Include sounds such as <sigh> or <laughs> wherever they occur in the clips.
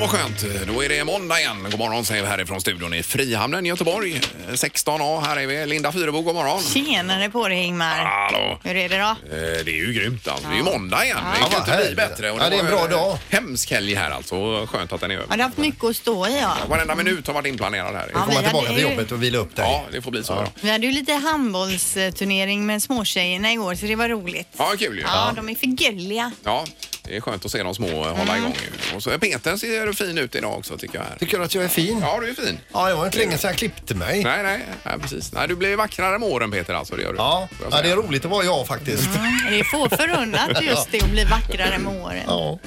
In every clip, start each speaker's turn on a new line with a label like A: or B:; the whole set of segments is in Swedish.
A: vad skönt. Då är det måndag igen. God morgon säger vi härifrån studion i Frihamnen i Göteborg. 16A, här är vi. Linda Fyrebo, god morgon.
B: Tjenare på dig Ingmar.
A: Hallå.
B: Hur är det då?
A: Eh, Det är ju grymt alltså. Det är ju måndag igen. Det kan
C: vad
A: inte bli
C: härligt.
A: bättre.
C: Ja, det är en
A: var,
C: bra
A: eh,
C: dag.
A: Hemsk helg här alltså. Skönt att den är över.
B: Har du haft mycket att stå i? Ja.
A: Varenda minut har varit inplanerad här.
B: Ja,
C: Komma
B: men-
C: tillbaka till
B: det är ju-
C: jobbet och vila upp dig.
A: Ja, det får bli så. då.
B: Vi hade ju lite handbollsturnering med småtjejerna igår så det var roligt.
A: Ja, kul ju.
B: Ja, de är för gulliga.
A: Ja, det är skönt att se de små hålla igång. ju. Och så Peter ser fin ut idag också tycker jag. Här.
C: Mm. Tycker du att jag är fin?
A: Ja, du är fin.
C: Ja, det var inte länge sedan jag klippte mig.
A: Nej, nej, nej precis. Nej, du blir vackrare med åren Peter alltså, det gör du.
C: Ja,
A: Får jag
C: ja, det
A: säga.
C: är roligt att vara jag faktiskt.
B: Det är få förunnat just det att bli vackrare med åren.
C: Ja.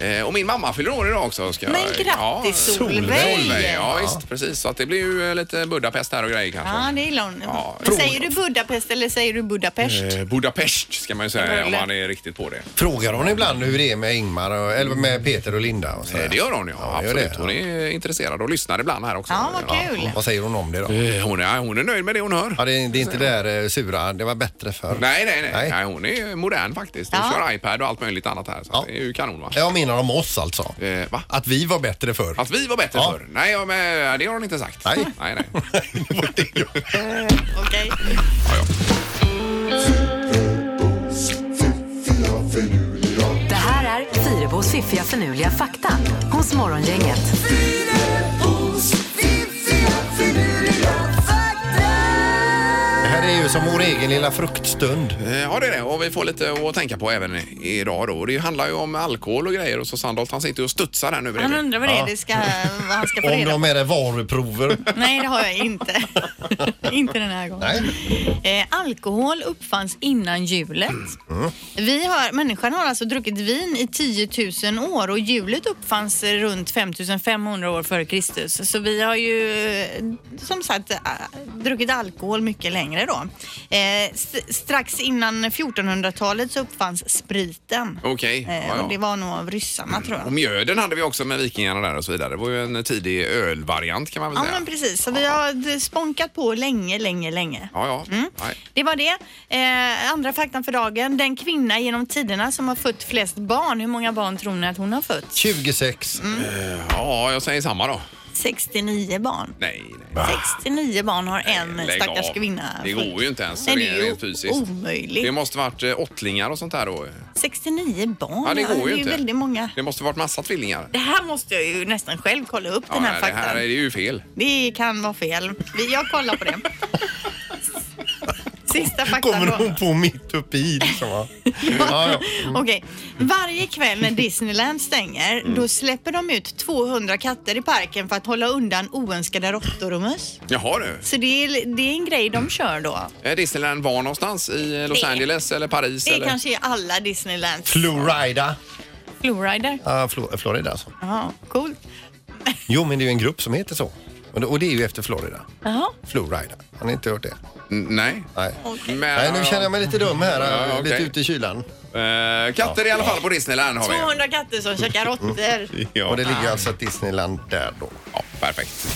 A: Eh, och min mamma fyller år idag också. Ska
B: Men
A: jag-
B: grattis
A: ja, Solveig!
B: Solveig!
A: Ja, visst, precis. Så att det blir ju eh, lite Budapest här och grejer kanske.
B: Ja, det gillar hon.
A: Ja.
B: Men Säger du Budapest eller säger du Budapest?
A: Eh, Budapest ska man ju säga om
B: Eller?
A: man är riktigt på det. Eh,
C: Frågar hon ibland hur det är med Ingmar, och, eller med Peter och Linda? Och så
A: Eh,
C: där?
A: det gör hon ja,
C: gör
A: absolut.
C: det.
A: Hon är intresserad och lyssnar ibland här också.
B: Ja, vad kul.
C: Vad säger hon om det då?
A: Eh, Hon är, hon är nöjd med det hon hör.
C: Ja, det, är- det är inte det där eh, sura, det var bättre förr.
A: Nej, nej, nej, nej.
C: Nej.
A: Hon är modern faktiskt. Hon
B: Ja.
A: kör iPad och allt möjligt annat här. Så att det är ju kanon va?
C: Jag menar om oss alltså.
A: Eh, va?
C: Att vi var bättre förr.
A: Att vi var bättre
C: Ja.
A: förr? Nej, ja, men, eh, det har hon inte sagt.
C: Nej.
A: nej. nej.
C: Det var det jag-
B: Okej.
D: Det här är Fyrabos fiffiga förnuliga fakta hos Morgongänget.
C: det här är ju som vår egen lilla fruktstund.
A: Eh, Ja, det är det. Och vi får lite att tänka på även i- idag då. Det handlar ju om alkohol och grejer och så Sandholt han sitter ju och studsar här nu
B: Han
A: bredvid.
B: undrar vad det är det ska, vad han ska få
C: Om
B: reda på.
C: de är det varuprover.
B: <laughs> Nej, det har jag inte. <laughs> inte den här gången. Eh, alkohol uppfanns innan hjulet. Vi har, människan har alltså druckit vin i 10 000 år och hjulet uppfanns eh, runt 5 500 år före Kristus. Så vi har ju eh, som sagt eh, druckit alkohol mycket längre då. Eh, st- strax innan 1400-talet så uppfanns spriten.
A: Okej.
B: Eh,
A: Oh, Ja, Mm.
B: och det
A: ja.
B: var nog av ryssarna tror jag.
A: Och mjöden hade vi också med vikingarna där och så vidare. Det var ju en tidig ölvariant kan man väl
B: Ja
A: säga.
B: men precis, så vi har eh, spånkat på länge, länge, länge.
A: Ja, ja.
B: Mm.
A: Nej.
B: Det var det. Eh, andra faktan för dagen. Den kvinna genom tiderna som har fött flest barn. Hur många barn tror ni att hon har fött?
C: 26.
B: Mm,
A: ja, jag säger samma då.
B: 69 barn.
A: Nej, nej.
B: 69 barn har en
A: Ah. Lägg
B: stackars
A: av.
B: kvinna.
A: Det
B: fött.
A: går ju inte ens
B: Nej, det är ju
A: rent fysiskt. Det
B: omöjligt.
A: måste varit eh, åttlingar och sånt där då.
B: 69 barn.
A: Ja, det går ju
B: är
A: inte.
B: väldigt många.
A: Det måste varit massa tvillingar.
B: Det här måste jag ju nästan själv kolla upp
A: Ja,
B: den
A: nej,
B: här
A: det här
B: faktan.
A: är det ju fel.
B: Det kan vara fel. Vi- Jag
A: <laughs>
B: kollar på det. Sista faktan
C: Kommer
B: då.
C: hon på mitt uppe i liksom va? Ja,
B: <laughs>
C: ja.
B: Okej. Varje kväll när Disneyland stänger då släpper de ut 200 katter i parken för att hålla undan oönskade råttor och möss.
A: Jaha du.
B: Så det är, det är en grej de kör då.
A: Är Disneyland var någonstans? I Los
B: Det-
A: Angeles eller Paris?
B: Det
A: eller?
B: kanske är alla Disneylands
C: Florida.
B: flowrider.
C: Ja, Flo- Florida alltså.
B: Jaha, coolt.
C: Jo, men det är ju en grupp som heter så. Och det, och det är ju efter Florida.
B: Jaha.
C: Flowrider. Har ni inte hört det?
A: Mm, Nej.
C: Nej.
B: Okej.
A: Men,
C: Nej, nu känner jag mig lite dum här.
A: Ja, ja,
C: Lite
A: okej.
C: ute i kylan.
A: Eh, katter i alla fall på Disneyland har vi.
B: 200 katter som käkar råttor.
A: Ja.
C: Och det ligger alltså ett Disneyland där då.
A: Ja, perfekt.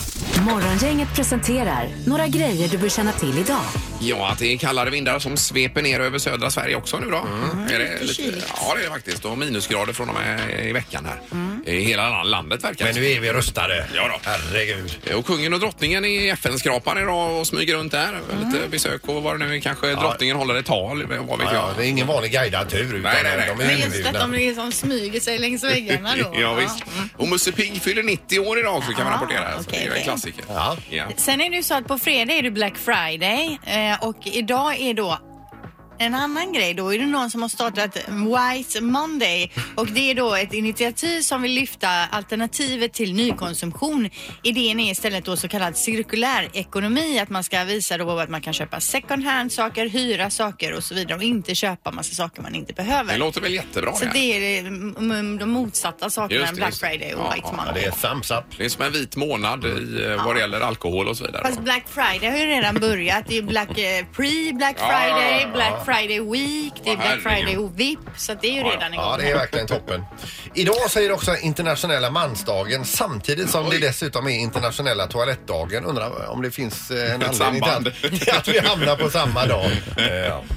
D: Morgongänget presenterar några grejer du bör känna till idag.
A: Ja, att det är kallare vindar som sveper ner över södra Sverige också nu då. Är det lite,
B: kyligt.
A: ja, det är det faktiskt. Och minusgrader från och med i veckan här. I hela landet verkar det
C: Men nu är vi rustade.
A: Ja då.
C: Herregud.
A: Och kungen och drottningen i FN-skrapan idag och smyger runt där. Lite besök och vad det nu är. Kanske drottningen håller ett tal, vad vet
C: Ja, ja,
A: jag.
C: det är ingen vanlig guidad tur. utan
A: Nej, nej, nej.
C: de är
B: Men just att
C: inbjudna.
B: de liksom smyger sig längs väggarna <laughs> då.
A: <laughs> Ja, visst. Och Musse Pigg fyller 90 år idag så kan man
B: Ah,
A: rapportera. Så det är
B: mm. okej,
A: ju en
B: okej.
A: klassiker.
C: Ja.
B: Sen är det ju så att på fredag är det Black Friday eh, och idag är då en annan grej då är det någon som har startat White Monday och det är då ett initiativ som vill lyfta alternativet till nykonsumtion. Idén är istället då så kallad cirkulär ekonomi att man ska visa då att man kan köpa second hand saker, hyra saker och så vidare och inte köpa massa saker man inte behöver.
A: Det låter väl jättebra
B: Så
A: här.
B: det är mm, mm, de motsatta sakerna
A: Just
B: än
A: det,
B: Black
A: just det.
B: Friday och
A: Ja,
B: White
A: ja,
C: Ja,
B: Monday.
C: det är thumbs up.
A: Det är som en vit månad i, eh, vad det gäller alkohol och så vidare.
B: Fast Black Friday har ju redan börjat. Det är Black eh, Pre-Black
A: Ja, ja, ja,
B: Friday,
A: ja.
B: Black Friday Week, det är
A: Åh,
B: Black Friday
A: herregud.
B: och VIP. Så att det är ju
A: Ja, ja.
B: redan igång.
C: Ja, det är verkligen toppen. Idag så är det också internationella mansdagen samtidigt som det dessutom är internationella toalettdagen. Undrar om det finns eh, en anledning <laughs>
A: samband.
C: till att- till att vi hamnar på samma dag. Eh, Ja.
A: <laughs>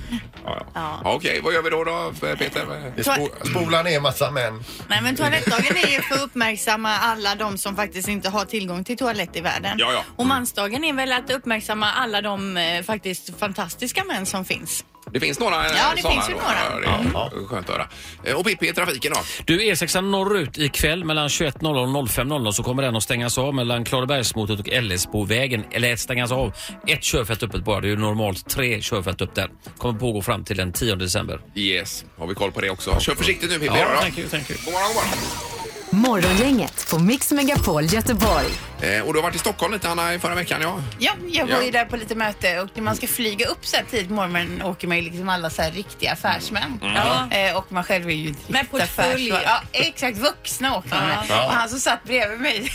A: Ja, ja.
E: Ja.
A: Ja, Okej, vad gör vi då, då för Peter?
C: Vi spo spolar ner massa män.
E: Nej men toalettdagen är ju för att uppmärksamma alla de som faktiskt inte har tillgång till toalett i världen.
A: Ja, ja.
E: Och mansdagen är väl att uppmärksamma alla de eh, faktiskt fantastiska män som finns.
A: Det finns några eh,
E: Ja, det
A: sådana
E: finns ju
A: då.
E: några. Mm.
A: Ja, det är skönt att höra. Eh, Och Pippi i trafiken då?
F: Du, E E6 norrut ikväll mellan 21.00 och 05.00 så kommer den att stängas av mellan Klarabergsmotet och LS-bovägen. Eller stängas av. Ett körfält öppet bara. Det är ju normalt tre körfält upp där. Kommer pågå fram till den 10 december.
A: Yes, har vi koll på det också. Kör försiktigt nu Pippi.
F: Ja,
A: då.
F: thank you, thank you.
A: God morgon, god morgon.
D: Morgongänget på Mix Megapol Göteborg.
A: Eh, och du har varit i Stockholm lite Anna i förra veckan ja.
E: Ja, jag var
A: Ja.
E: ju där på lite möte och när man ska flyga upp så här tidigt på morgonen åker man ju liksom alla så här riktiga affärsmän.
A: Mm.
E: Eh, och man själv är ju inte
B: Med
E: riktigt
B: portfölj.
E: affärsman. Ja, exakt. Vuxna åker man med. Och han som satt bredvid mig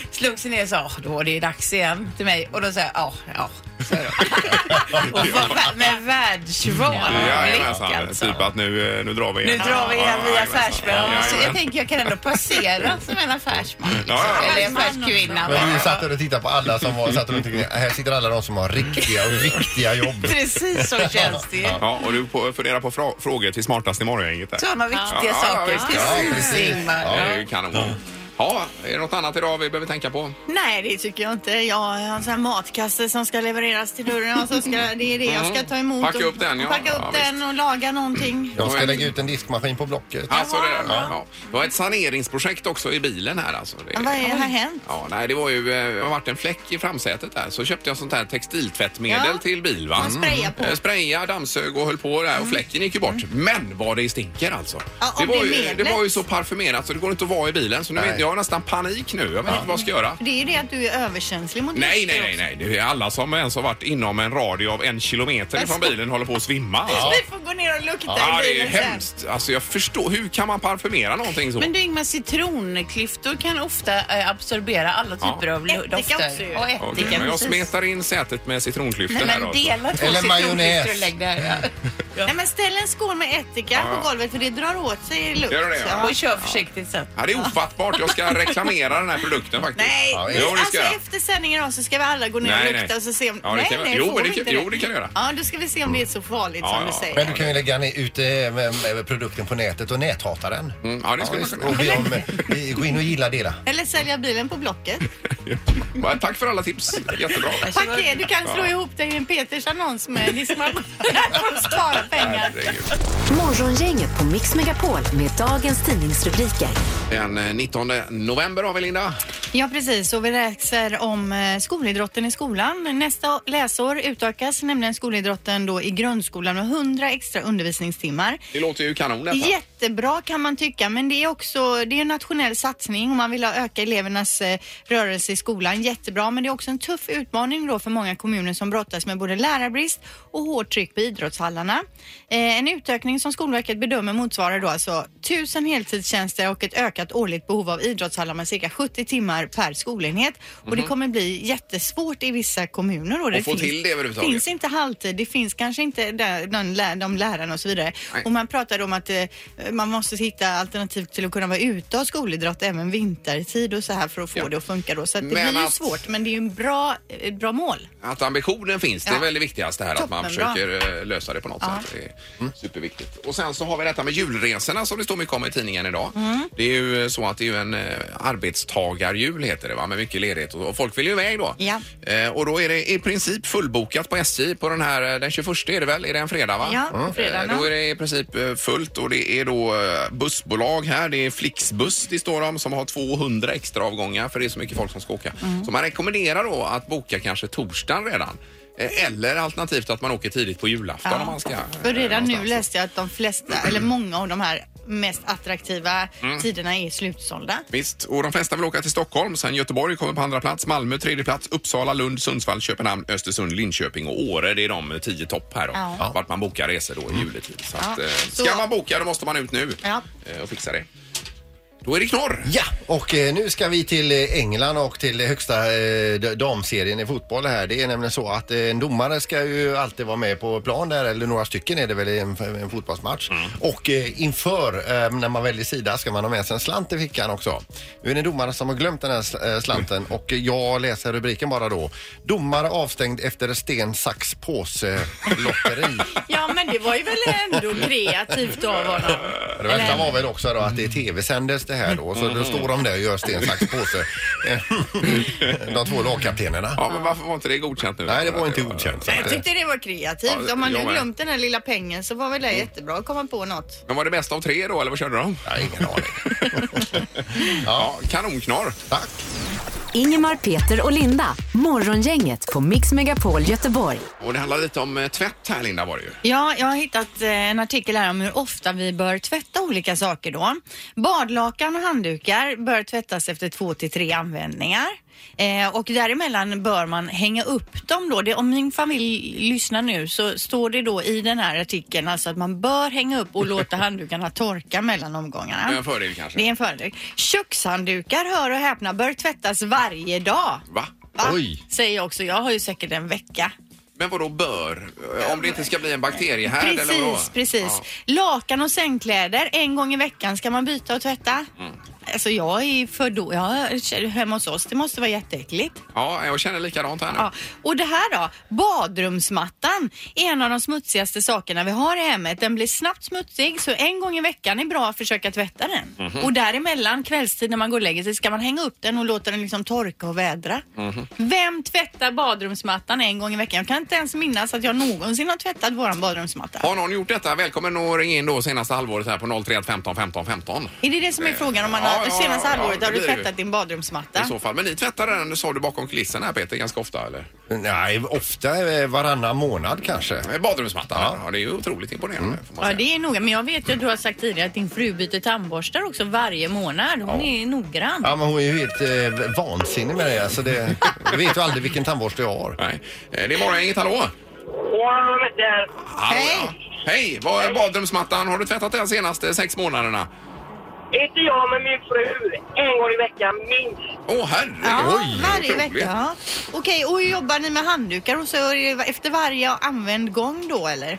E: <laughs> slog sig ner och sa "Ah, då är det dags igen till mig. Och då sa jag ja, ja. sa
A: <laughs>
E: jag då. och var- med världsvan blick
A: Jajamensan,
E: alltså.
A: typ att nu, eh, nu drar vi
E: Nu drar vi igen via affärsmän.
A: Ja,
E: Så
A: jajamensan.
E: jag tänker jag kan ändå passera som en affärsman. Liksom.
A: Ja, ja, ja.
E: Eller en affärskvinna.
C: Men vi satt där och tittade på alla som var, satt runt omkring. Här sitter alla de som har riktiga och viktiga jobb.
E: Precis så känns det ju.
A: Ja, och du på- funderar på fra- frågor till smartast i morgongänget där.
E: Sådana viktiga
A: Ja,
E: saker.
A: ja, visst.
C: Ja,
E: precis,
C: precis.
E: Ingmar.
A: Ja, det är ju kanon. Ja, är det något annat idag vi behöver tänka på?
E: Nej, det tycker jag inte. Jag har en sån här matkasse som ska levereras till dörren och så ska, det är det jag ska ta emot.
A: Mm. Packa
E: och-
A: upp den, ja.
E: och Packa upp
A: Ja,
E: den och laga någonting.
C: De ska lägga ut en diskmaskin på Blocket.
A: Alltså, det, ja. Ja. det var ett saneringsprojekt också i bilen här alltså. Det,
E: Men Vad är, har hänt?
A: Ja, nej, det var ju, eh, det har varit en fläck i framsätet där. Så köpte jag sånt här textiltvättmedel
E: Ja.
A: till bil. Va?
E: Man sprayar på. Mm.
A: Eh, Spraya, dammsög och höll på där och fläcken gick ju bort. Men vad det stinker alltså.
E: Ja,
A: det,
E: om
A: var
E: det
A: ju, det
E: medlet.
A: var ju så parfymerat så det går inte att vara i bilen. Så nu
C: Nej.
A: vet, jag har nästan panik nu. Jag vet inte vad jag ska göra.
E: Det är ju det att du är överkänslig mot
A: Nej,
E: lukter
A: nej, nej,
E: också.
A: nej. Det är alla som ens har varit inom en radie av en kilometer ifrån bilen håller på att svimma. Ja.
E: Vi får gå ner och lukta
A: Ja,
E: i
A: det är
E: bilen sen.
A: hemskt. Alltså jag förstår. Hur kan man parfymera någonting så?
B: Men du Ingmar, citronklyftor kan ofta eh, absorbera alla typer av lu-
E: Ättika också ju.
B: dofter. Och ättika.
A: Okej, men jag
B: precis.
A: smetar in sätet med citronklyftor
B: Nej,
A: här
B: men
A: alltså.
B: dela två
C: Eller majonnäs.
B: citronklyftor och lägg där.
E: Nej, men ställ en skål med ättika på golvet för det drar åt sig lukt.
A: Gör det, ja.
B: Ja. Och kör försiktigt sen.
A: Ja, det är ofattbart. Jag
E: <laughs>
A: ska reklamera den här produkten faktiskt.
E: Nej,
A: ja,
E: men
A: jo, det
E: alltså
A: ska jag.
E: efter sändningen då så ska vi alla gå ner
A: Nej,
E: och lukta
A: nej.
E: och så se om...
A: Ja, det
E: nej,
A: kan vi-
E: nej,
A: jo,
E: får
A: men det
E: vi
A: kan-
E: inte
A: jo, det kan vi göra.
E: Ja, då ska vi se om det är så farligt
A: Ja,
E: som
A: ja.
E: du säger.
C: Men du kan ju lägga ner ut eh, med- med produkten på nätet och näthata den.
A: Mm, ja, det ska man kunna.
C: Och be om, eh, gå in och gilla dela.
E: Eller sälja bilen på Blocket.
A: Ja, Tack för alla tips. Jättebra.
E: Paket, du kan slå
A: Ja.
E: ihop dig i en Peters annons
A: <laughs>
E: med diskmaskin. <laughs> Där får du spara pengar.
A: Herregud.
D: Morgongänget på Mix Megapol med dagens tidningsrubriker.
A: Den eh, 19 november har vi Linda.
E: Ja, precis. Och vi läser om eh, skolidrotten i skolan. Nästa läsår utökas nämligen skolidrotten då i grundskolan med 100 extra undervisningstimmar.
A: Det låter ju kanon detta.
E: Jättebra kan man tycka, men det är också det är en nationell satsning och man vill ha- öka elevernas eh, rörelse i skolan. Jättebra, men det är också en tuff utmaning då för många kommuner som brottas med både lärarbrist och hårt tryck på idrottshallarna. Eh, en utökning som Skolverket bedömer motsvarar då alltså 1000 heltidstjänster och ett ökat årligt behov av idrottshallar med cirka 70 timmar per skolenhet. Och det kommer bli jättesvårt i vissa kommuner. Och det
A: Mhm. Att få till det överhuvudtaget.
E: finns inte halter, det finns kanske inte där, de, lä- de lärarna och så vidare.
A: Nej.
E: Och man pratade om att eh, man måste hitta alternativ till att kunna vara ute och ha skolidrott även vintertid och så här för att få
A: Ja.
E: det att funka då. Så att det
A: Men
E: blir ju
A: att-
E: svårt, men det är ju en bra, ett bra mål.
A: Att ambitionen finns, det är
E: Ja.
A: väl det viktigaste här. Att man
E: Toppenbra.
A: försöker eh, lösa det på något
E: Ja.
A: sätt. Det är superviktigt. Och sen så har vi detta med julresorna som det står mycket om i tidningen idag.
E: Mm.
A: Det är ju eh, så att det är ju en eh, arbetstagarjul heter det va, med mycket ledighet och och folk vill ju iväg då.
E: Ja.
A: Eh, och då är det i princip fullbokat på SJ på den här, eh, den 21 är det väl, är det en fredag va?
E: Ja, Mm. fredagen.
A: Eh, Då är det i princip eh, fullt och det är då eh, bussbolag här, det är Flixbuss det står om som har 200 extra avgångar för det är så mycket folk som ska åka.
E: Mm.
A: Så man rekommenderar då att boka kanske torsdagen redan. Eh, Eller alternativt att man åker tidigt på julafton om man ska. eh,
E: För redan nu
A: någonstans.
E: läste jag att de flesta, eller många av de här mest attraktiva
A: Mm.
E: tiderna är slutsålda.
A: Visst, och de flesta vill åka till Stockholm. Sen Göteborg kommer på andra plats, Malmö tredje plats, Uppsala, Lund, Sundsvall, Köpenhamn, Östersund, Linköping och Åre. Det är de tio topp här då.
E: Ja.
A: Vart man
C: Mm.
A: bokar resor då i juletid. Så att,
E: Ja.
A: eh,
E: Så-
A: ska man boka då måste man ut nu
E: Ja.
A: eh, och fixa det. Då är det knorr.
C: Ja, och eh, nu ska vi till eh, England och till högsta eh, d- damserien i fotboll här. Det är nämligen så att eh, en domare ska ju alltid vara med på plan där, eller några stycken är det väl i en, en fotbollsmatch. Och eh, inför, eh, när man väljer sida, ska man ha med sig en slant i fickan också. Nu är det en domare som har glömt den här sl- eh, slanten och jag läser rubriken bara då. Domare avstängd efter sten, sax, påse, lotteri.
E: Ja, men det var ju väl ändå kreativt av honom.
C: Det värsta var väl också då att det är tv-sändes det här då,
A: Mm.
C: så då står de där och gör sten,
A: <laughs>
C: sax, påse. de två lagkaptenerna.
A: Ja, men varför var inte det godkänt nu?
C: Nej, det var inte godkänt. så att,
E: Jag
C: eh,
E: tyckte det var kreativt.
A: Ja,
E: Om man nu
A: jag med. Mm.
E: glömt den här lilla pengen så var väl det jättebra att komma på något.
A: Men var det bästa av tre då, eller vad körde
C: <laughs>
A: de?
C: Nej, ingen aning.
A: Ja, kanonknorr.
C: Tack.
D: Ingemar, Peter och Linda. Morgongänget på Mix Megapol Göteborg.
A: Och det handlar lite om eh, tvätt här, Linda, var det ju.
E: Ja, jag har hittat eh, en artikel här om hur ofta vi bör tvätta olika saker då. Badlakan och handdukar bör tvättas efter två till tre användningar. Eh, och däremellan bör man hänga upp dem då. Det, om min familj lyssnar nu så står det då i den här artikeln alltså att man bör hänga upp och låta handdukarna torka mellan omgångarna.
A: Det är en fördel kanske.
E: Det är en fördel. Kökshanddukar, hör och häpna, bör tvättas varje dag.
A: Va?
E: Va?
C: Oj.
E: Säger jag också. Jag har ju säkert en vecka.
A: Men vadå bör? Eh, Om det inte ska bli en bakteriehärd eller vadå?
E: Precis, precis.
A: Ja.
E: Lakan och sängkläder, en gång i veckan ska man byta och tvätta. Alltså jag är för då, jag, hemma hos oss, det måste vara jätteäckligt.
A: Ja, jag känner likadant här nu.
E: Ja. Och det här då, badrumsmattan är en av de smutsigaste sakerna vi har i hemmet. Den blir snabbt smutsig så en gång i veckan är bra att försöka tvätta den. Och däremellan kvällstid när man går och lägger sig ska man hänga upp den och låta den liksom torka och vädra. Vem tvättar badrumsmattan en gång i veckan? Jag kan inte ens minnas att jag någonsin har tvättat våran badrumsmatta.
A: Har någon gjort detta? Välkommen att ringa in då senaste halvåret här på 031 15 15 15.
E: Är det det som är frågan om man
A: Eh, Ja,
E: har,
A: ja,
E: senaste
A: ja,
E: halvåret
A: ja,
E: har du
A: det blir det ju.
E: tvättat din
A: I
E: badrumsmatta?
A: så fall. Men ni tvättar den, sa du bakom kulissen här Peter, ganska ofta eller?
C: Nej, ofta eh, varannan månad kanske.
A: Eh, Badrumsmattan? Ja. Mm. det är ju otroligt imponerande. Får man
E: Ja,
A: säga.
E: det är noga. Men jag vet ju att du har sagt tidigare att din fru byter tandborstar också varje månad. Hon är noggrann.
C: Ja, men hon är ju helt eh, vansinnig med det. Alltså det jag vet ju aldrig vilken tandborste jag har.
A: Nej. Eh, Det är morgongänget, hallå!
G: Morgonen där.
A: hallå ja. Hej! Vad är badrumsmattan? Har du tvättat den senaste sex månaderna?
G: Inte jag, men min fru. En gång i veckan minst.
A: Åh herregud!
E: Ja, varje
A: otroligt.
E: vecka. Ja. Okej, och hur jobbar ni med handdukar och så är det efter varje använd gång då eller?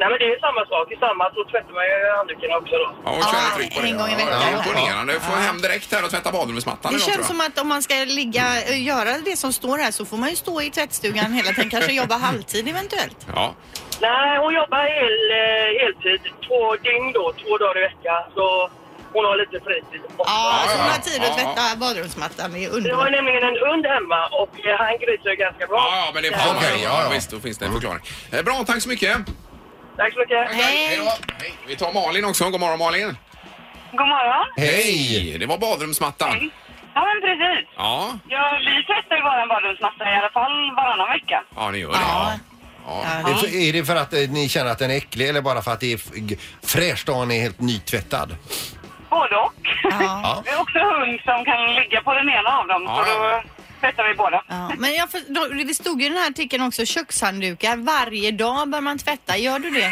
G: Nej, men det är samma sak. I samma så tvättar man ju handdukarna också då.
A: Ja, och kör
E: Ja,
A: ett tryck på det.
E: en gång i veckan.
A: Ja, det är imponerande. Du får hem direkt här och tvätta badrumsmattan
E: Det
A: idag, tror
E: känns
A: jag.
E: som att om man ska ligga, eh, göra det som står här så får man ju stå i tvättstugan hela tiden, kanske jobba halvtid eventuellt.
A: Ja.
G: Nej, hon jobbar hel, eh, heltid. Två dygn då, två dagar i veckan. Så hon har lite fritid också.
E: Ja, så
A: ja,
E: man har
A: ja.
E: tid att
A: Ja, ja.
E: tvätta badrumsmattan, det är
G: Det var ju
E: underbart.
G: nämligen en hund hemma och eh, han gryter ju ganska bra.
A: Ja, ja, men det är
C: Okej,
A: okay, ja,
C: ja,
A: ja.
C: ja.
A: Visst, då finns det en förklaring. Eh, Bra, tack så mycket.
G: Tack så mycket.
E: Hej.
A: då. Hej. Vi tar Malin också. God morgon Malin.
G: God morgon.
C: Hej!
A: Det var badrumsmattan.
G: Ja, men precis.
A: Ja,
G: Ja, vi tvättar ju våran badrumsmatta i alla fall varannan vecka.
A: ja ni gör det.
E: Ja.
A: Ja.
C: Är det så- Är det för att eh, ni känner att den är äcklig eller bara för att det är f- g- fräscht och han är helt nytvättad?
G: Både och.
E: Ja.
C: Ja.
G: <laughs> Det är också hund som kan ligga på den ena av dem.
A: Ja.
G: Så då tvättar vi båda.
E: Ja, men jag för, då, det stod ju i den här artikeln också, kökshanddukar, varje dag bör man tvätta. Gör du det?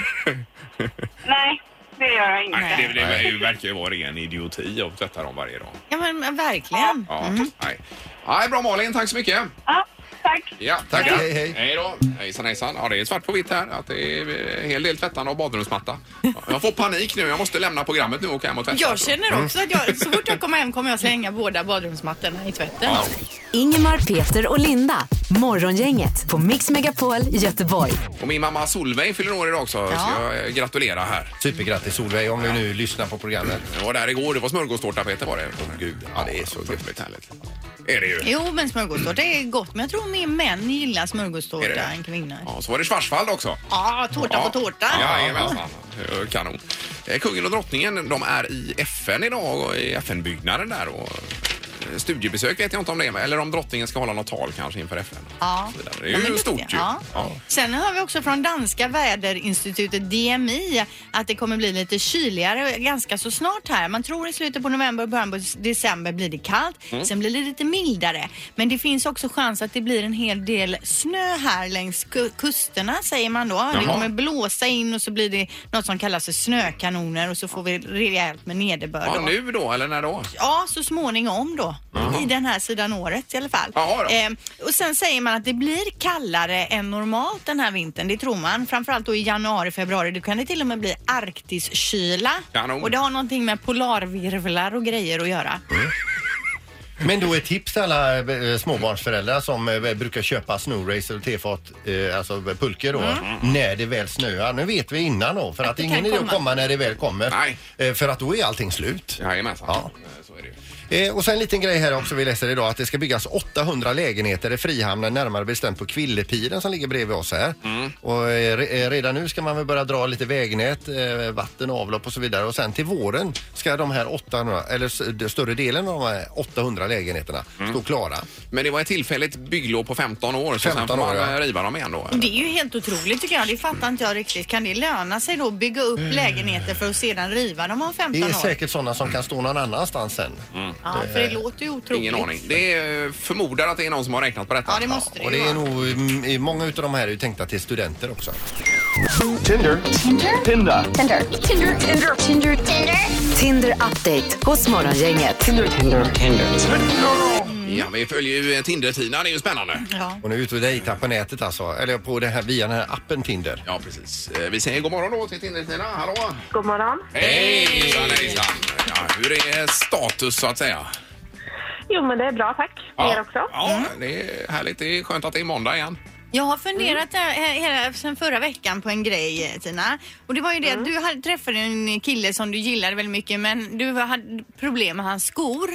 G: Nej, det gör jag inte.
A: Nej, det, det, det verkar ju vara ren idioti att tvätta dem varje dag.
E: Ja, men men verkligen. Mm.
A: Ja, nej. nej. Bra Malin, tack så mycket.
G: Ja, tack.
A: Ja,
C: Tack,
A: tackar.
C: hej, hej.
A: Hej då. Hejsan, hejsan. Ja, det är svart på vitt här att det är en hel del tvättande av badrumsmatta. Ja, Jag får panik nu. Jag måste lämna programmet nu och åka hem och tvätta.
E: Jag
A: Mm.
E: känner också att jag, så fort jag kommer hem kommer jag slänga båda badrumsmattorna i tvätten.
A: Ja.
D: Ingemar, Peter och Linda. Morgongänget på Mix Megapol Göteborg.
A: Och min mamma Solveig fyller år idag också.
E: Ja.
A: Så jag eh, gratulerar här.
C: Supergrattis Solveig om du nu lyssnar på programmet.
A: Jag var där igår. Det var smörgåstårta Peter var det. Åh, gud, ja, det är så otroligt härligt. Är det ju.
E: Jo, men smörgåstårta är gott, men jag tror mer män gillar
A: Är det det?
E: smörgåstårta än kvinnor. Ja,
A: Ja, så var det Schwarzwald också.
E: tårta på tårta.
A: Jajamensan. Eh, Kanon. Eh, Kungen och drottningen de är i FN idag, och i FN-byggnaden där. Och studiebesök vet jag inte om det är, eller om drottningen ska hålla något tal kanske inför FN.
E: Ja.
A: Det är ju
E: Ja, men det-
A: stort ju.
E: Ja.
A: Ja.
E: Sen har vi också från danska väderinstitutet DMI att det kommer bli lite kyligare ganska så snart här. Man tror i slutet på november och början på december blir det kallt.
A: Mm.
E: Sen blir det lite mildare. Men det finns också chans att det blir en hel del snö här längs ku- kusterna säger man då. Det
A: Jaha.
E: kommer blåsa in och så blir det något som kallas för snökanoner och så får vi rejält med nederbörd.
A: Ja,
E: då.
A: nu då eller när då?
E: Ja, så småningom då. I den här sidan året i alla fall. Eh,
A: Jaha då.
E: och sen säger man att det blir kallare än normalt den här vintern. Det tror man. Framförallt då i januari, februari. Då kan det till och med bli arktiskyla.
A: Kanon.
E: Och det har någonting med polarvirvlar och grejer att göra.
C: Men då ett tips till alla eh, småbarnsföräldrar som eh, brukar köpa snowracer och tefat, eh, alltså pulker då, när det väl snöar. Nu vet vi innan då, för att, det är
E: kan
C: ingen idé att
E: komma.
C: komma när det väl kommer.
A: Nej.
C: Eh, För att då är allting slut.
A: Jajamensan.
C: Ja.
A: Eh, Så är det ju.
C: Eh, och sen en liten grej här också vi läser idag att det ska byggas 800 lägenheter i Frihamnen närmare bestämt på Kvillepiren som ligger bredvid oss här. Och eh, re- eh, redan nu ska man väl börja dra lite vägnät, eh, vatten, avlopp och så vidare och sen till våren ska de här 800, eller s- de- större delen av de här 800 lägenheterna stå klara.
A: Men det var ett tillfälligt bygglov på 15 år så sen
C: 15
A: får man
C: år, ja.
A: eh, riva dem igen då.
E: Och det är ju helt otroligt tycker jag. Det fattar inte jag riktigt. Kan det löna sig då att bygga upp
A: Eh.
E: lägenheter för att sedan riva dem om 15
C: Det är
E: år?
C: säkert sådana som kan stå någon annanstans sen.
E: Ja, för det låter ju otroligt.
A: eh, Ingen aning. Det är, eh, förmodar att det är någon som har räknat på detta.
E: Ja, det måste det
C: Och
E: ju
C: det är
E: vara.
C: nog, mm, i- många utav de här är ju tänkta till studenter också.
H: Tinder. Tinder. Tinder. Tinder. Tinder.
D: Tinder update hos Morgongänget.
A: Ja, vi följer ju eh, Tinder-Tina. Det är ju spännande.
E: Ja.
C: Och nu är ute och dejtar på nätet alltså, eller på det här, via den här appen Tinder.
A: Ja, precis. Eh, Vi säger god morgon då till Tinder-Tina. Hallå!
I: God morgon.
A: Hej! Hejsan, hejsan. Ja, hur är status så att säga?
I: Jo, men det är bra, tack. Er också?
A: Ja, det är härligt. Det är skönt att det är måndag igen.
E: Jag har funderat
I: Mm.
E: eh, hela, sen förra veckan på en grej eh, Tina. Och det var ju det
I: Mm.
E: att du hade, träffade en kille som du gillade väldigt mycket men du hade problem med hans skor.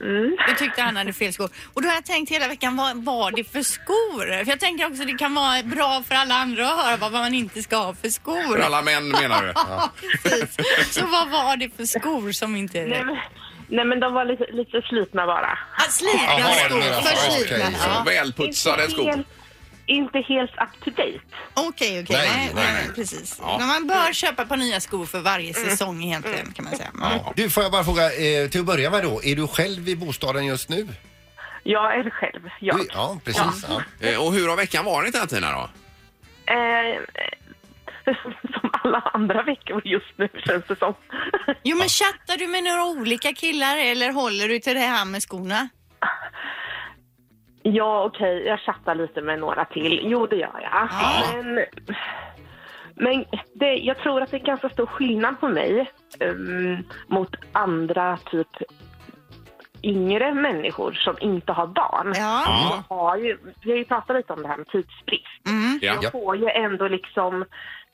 I: Mm.
E: Du tyckte han hade fel skor. Och då har jag tänkt hela veckan, vad var det för skor? För jag tänker också det kan vara bra för alla andra att höra vad man inte ska ha för
A: För
E: skor.
A: alla män menar du?
E: Ja, precis. Så vad var det för skor som inte är
I: Nej,
E: rätt?
I: men, nej, men de var lite, lite slitna bara.
E: Ah, slitna
C: Ja, var det
E: skor,
C: det?
E: för
C: Ja,
E: slitna.
C: okej.
E: Ja.
A: Välputsade
I: Inte
A: skor.
I: helt- Inte helt up to date.
E: Okej, okej.
C: Nej,
E: Nej,
C: nej,
E: nej,
C: nej.
E: precis. Men man bör köpa på nya skor för varje
I: Mm.
E: säsong egentligen kan man säga. Ja.
C: Du, får jag bara fråga, eh, till att börja med då, är du själv i bostaden just nu?
I: Jag är själv, jag.
C: Du, ja precis. Ja.
A: Eh, Och hur har veckan varit här Tina då?
I: Eh, <laughs> som alla andra veckor just nu, känns det som.
E: Jo men chattar du med några olika killar eller håller du till det här med skorna?
I: ja, okej, jag chattar lite med några till. Jo, det gör jag. Men, men det, jag tror att det är ganska stor skillnad på mig ehm, mot andra, typ yngre människor som inte har barn.
E: Ja.
A: Ja.
I: har ju, vi har ju pratat lite om det här med tidsbrist.
A: Ja.
I: Jag får ju ändå liksom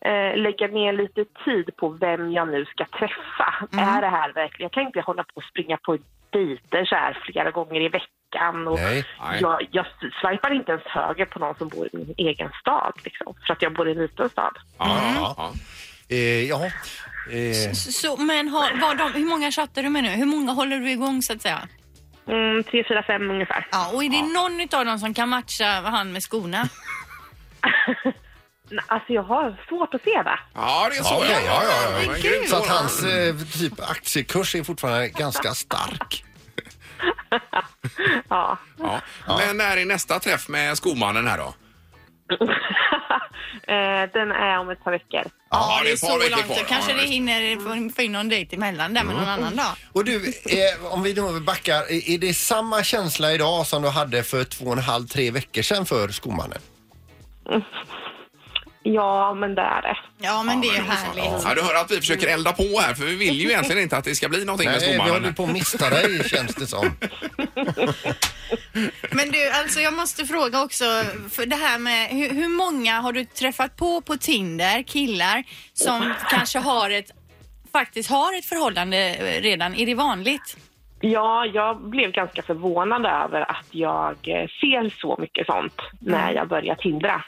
I: eh, lägga ner lite tid på vem jag nu ska träffa. Är det här verkligen, jag kan inte hålla på och springa på dejter så här flera gånger i veckan. Och
C: Nej.
A: Nej.
I: jag, jag swipar inte ens höger på någon som bor i min egen stad liksom, för att jag bor i en liten stad.
C: Mm.
A: Ja, ja.
C: Eh, ja. Eh,
E: Så, men har, var de, hur många chattar du med nu? Hur många håller du igång så att säga?
I: Mm, tre, fyra, fem ungefär.
E: Ja, och är det någon utav dem som kan matcha han med skorna?
I: Nej, Alltså jag har svårt att se det.
A: Ja, det är så.
C: Ja, okej, ja, ja, ja.
A: Det var en grym
C: så att
A: fråga.
C: hans eh, typ aktiekurs är fortfarande ganska stark.
I: Ja. <laughs>
A: Ja. Men när är nästa träff med skomannen här då?
I: eh, den är om ett par veckor.
A: Ja, det är ett par
E: så
A: veckor
E: långt.
A: kvar.
E: Så kanske
A: Ja,
E: det
A: visst.
E: hinner få- få in någon dejt emellan där med någon annan dag.
C: Och du, eh, om vi nu backar, eh, är det samma känsla idag som du hade för två och en halv, tre veckor sedan för skomannen?
I: Ja, men det är det.
E: Ja, men det är härligt.
A: Ja, du hör att vi försöker elda på här för vi vill ju egentligen inte att det ska bli någonting med
C: Nej, vi håller
A: skomannen.
C: på att mista dig känns det som.
E: Men du, alltså jag måste fråga också, för det här med hur, hur många har du träffat på på Tinder, killar, som kanske har ett, faktiskt har ett förhållande eh, redan? Är det vanligt?
I: Ja, jag blev ganska förvånad över att jag eh, ser så mycket sånt
C: Mm.
I: när jag börjar tindra.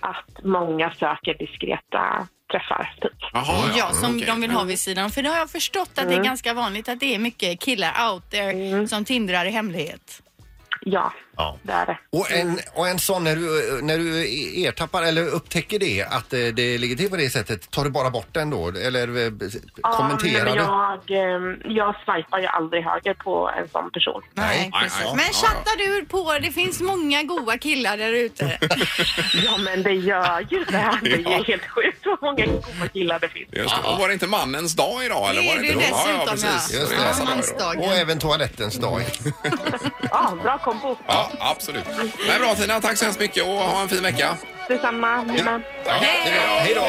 I: Att många söker diskreta träffar, typ.
A: Jaha,
E: Ja, som
A: okej.
E: de vill ha vid sidan. För det har jag förstått att det är ganska vanligt att det är mycket killar out there som tindrar i hemlighet.
I: Ja,
C: Ja.
I: det är det.
C: Och en, och en sån när du, när du ertappar eller upptäcker det att eh, det ligger till på det sättet, tar du bara bort den då? Eller eh, b- kommenterar
I: men
C: du?
I: jag, eh, jag swipar ju aldrig höger på en sån
C: <laughs>
I: person.
E: Nej, precis.
A: nej, nej.
E: Men chattar du på, det finns många goa killar där ute.
I: Ja, men det gör
C: <laughs>
I: ju det. Det är ju helt sjukt vad många goda killar det finns.
A: Just det. Och var det inte mannens dag idag? Eller
E: Det
A: var
E: är
A: det
E: det ju
A: inte då?
E: dessutom, ja.
A: Så
C: Just
A: det
C: det.
A: är massa dagar idag.
E: Mansdagen.
C: Och även toalettens dag. <laughs>
I: Ja, bra kombo.
A: Ja, absolut. Men bra Tina, tack så hemskt mycket och ha en fin vecka.
I: Detsamma. Mina.
C: Hej då!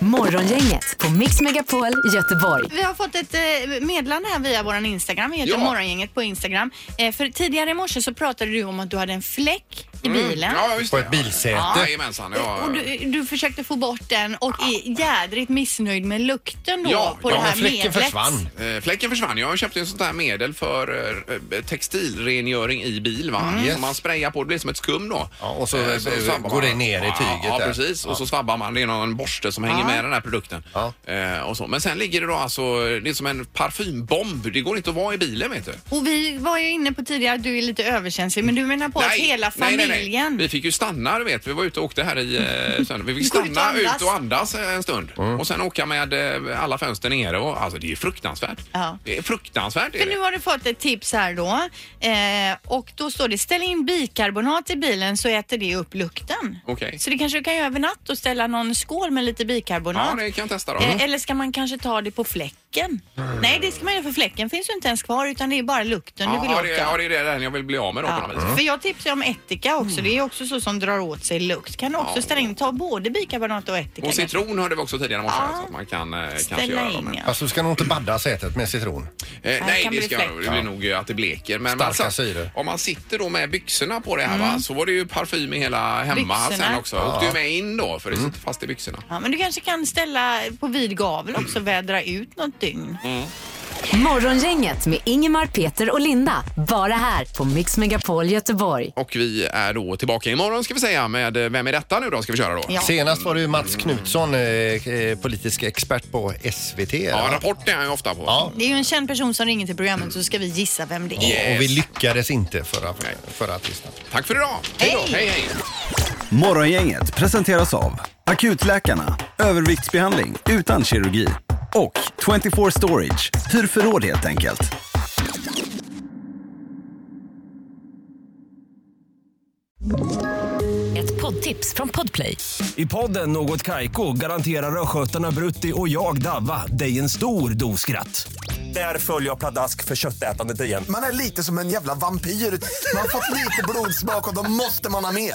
D: Morgongänget på Mix Megapol Göteborg.
E: Vi har fått ett eh, meddelande här via vår Instagram. Vi heter
A: Ja.
E: Morgongänget på Instagram. Eh, För tidigare i morse så pratade du om att du hade en fläck i bilen.
A: Ja, just
C: På
A: det.
C: ett bilsäte.
A: Ja, Jajamensan. Ja.
E: Och du, du försökte få bort den och är jädrigt missnöjd med lukten då
A: Ja,
E: på
A: ja,
E: det
C: men
E: här
C: fläcken
E: medlet.
C: försvann.
A: Eh, Fläcken försvann. Jag köpte en sånt här medel för eh, textilrengöring i bil. Va? Som man sprayar på. Det blir som ett skum då.
C: Mm. Ja, och så,
A: Eh,
C: eh,
A: svabbar
C: går
A: man.
C: det ner i
A: Ja,
C: tyget
A: Ja,
C: där.
A: precis. Och så svabbar man. Det är någon borste som hänger med den här produkten.
C: Ja.
A: Eh, och så. Men sen ligger det då alltså, det är som en parfymbomb. Det går inte att vara i bilen vet du.
E: Och vi var ju inne på tidigare att du är lite överkänslig men du menar på att hela familjen...
A: Nej, nej, nej. Vi fick ju stanna, du vet. Vi var ute och åkte här i
E: <laughs>
A: eh, söndag. Vi fick
E: Gå ut och
A: stanna
E: andas.
A: ut och andas eh, en stund och sen åka med eh, alla fönster nere. Och, alltså, det är ju fruktansvärt.
E: Ja.
A: Det är fruktansvärt. Är
E: För nu
A: det.
E: har du fått ett tips här då eh, och då står det ställ in bikarbonat i bilen så äter det upp lukten.
A: Okej.
E: Så det kanske du kan göra över natt och ställa någon skål med lite bikarbonat.
A: Ja, det kan jag testa då. Mm.
E: Eh, Eller ska man kanske ta det på fläcken? Nej, det ska man göra för fläcken finns ju inte ens kvar utan det är bara lukten du vill
A: Ja,
E: åt.
A: det,
E: av.
A: ja, det är det där jag vill bli av med då på
E: Ja. Mm.
A: något vis.
E: För jag tipsar ju om ättika också. Det är också så som drar åt sig lukt. Kan du också
A: Mm. Ja.
E: ställa in, ta både bikarbonat och ättika.
A: Och citron hörde vi också tidigare i morse
E: Ja.
A: så att man kan eh, kanske
E: Ställa
A: göra dem.
E: in ja.
C: Fast Alltså, du ska nog inte badda sätet med citron.
A: Eh,
E: Ja,
A: nej,
E: det kan
A: det
E: bli
A: ska jag nog. Det blir nog eh, att det bleker. Men
C: Starka
A: man satt-
C: syror.
A: Om man sitter då med byxorna på det här va, så var det ju parfym i hela hemma
E: Mm. Byxorna.
A: sen också. Åkte ju med in då för det sitter fast i byxorna.
E: Ja, men du kanske kan ställa på vid gavel också, vädra ut något dygn.
D: Morgongänget med Ingemar, Peter och Linda. Bara här på Mix Megapol Göteborg.
A: Och vi är då tillbaka imorgon ska vi säga med eh, Vem är detta nu då? Ska vi köra då?
E: Ja.
C: Senast var det ju Mats Knutsson, eh, eh, politisk expert på SVT.
A: Ja,
C: va?
A: Rapport är jag ju ofta på.
C: Ja.
E: Det är ju en känd person som ringer till programmet så ska vi gissa vem det är.
A: Yes.
C: Och vi lyckades inte förra, förra tisdagen.
A: Tack för idag!
E: Hej!
A: Hej, hej!
J: Morgongänget presenteras av Akutläkarna, överviktsbehandling utan kirurgi och 24 Storage, hur förråd helt enkelt.
D: Ett poddtips från Podplay.
J: I podden Något Kaiko garanterar östgötarna Brutti och jag, Davva, dig en stor dos skratt. Där följer jag pladask för köttätandet igen.
K: Man är lite som en jävla vampyr. Man har fått lite blodsmak och då måste man ha mer.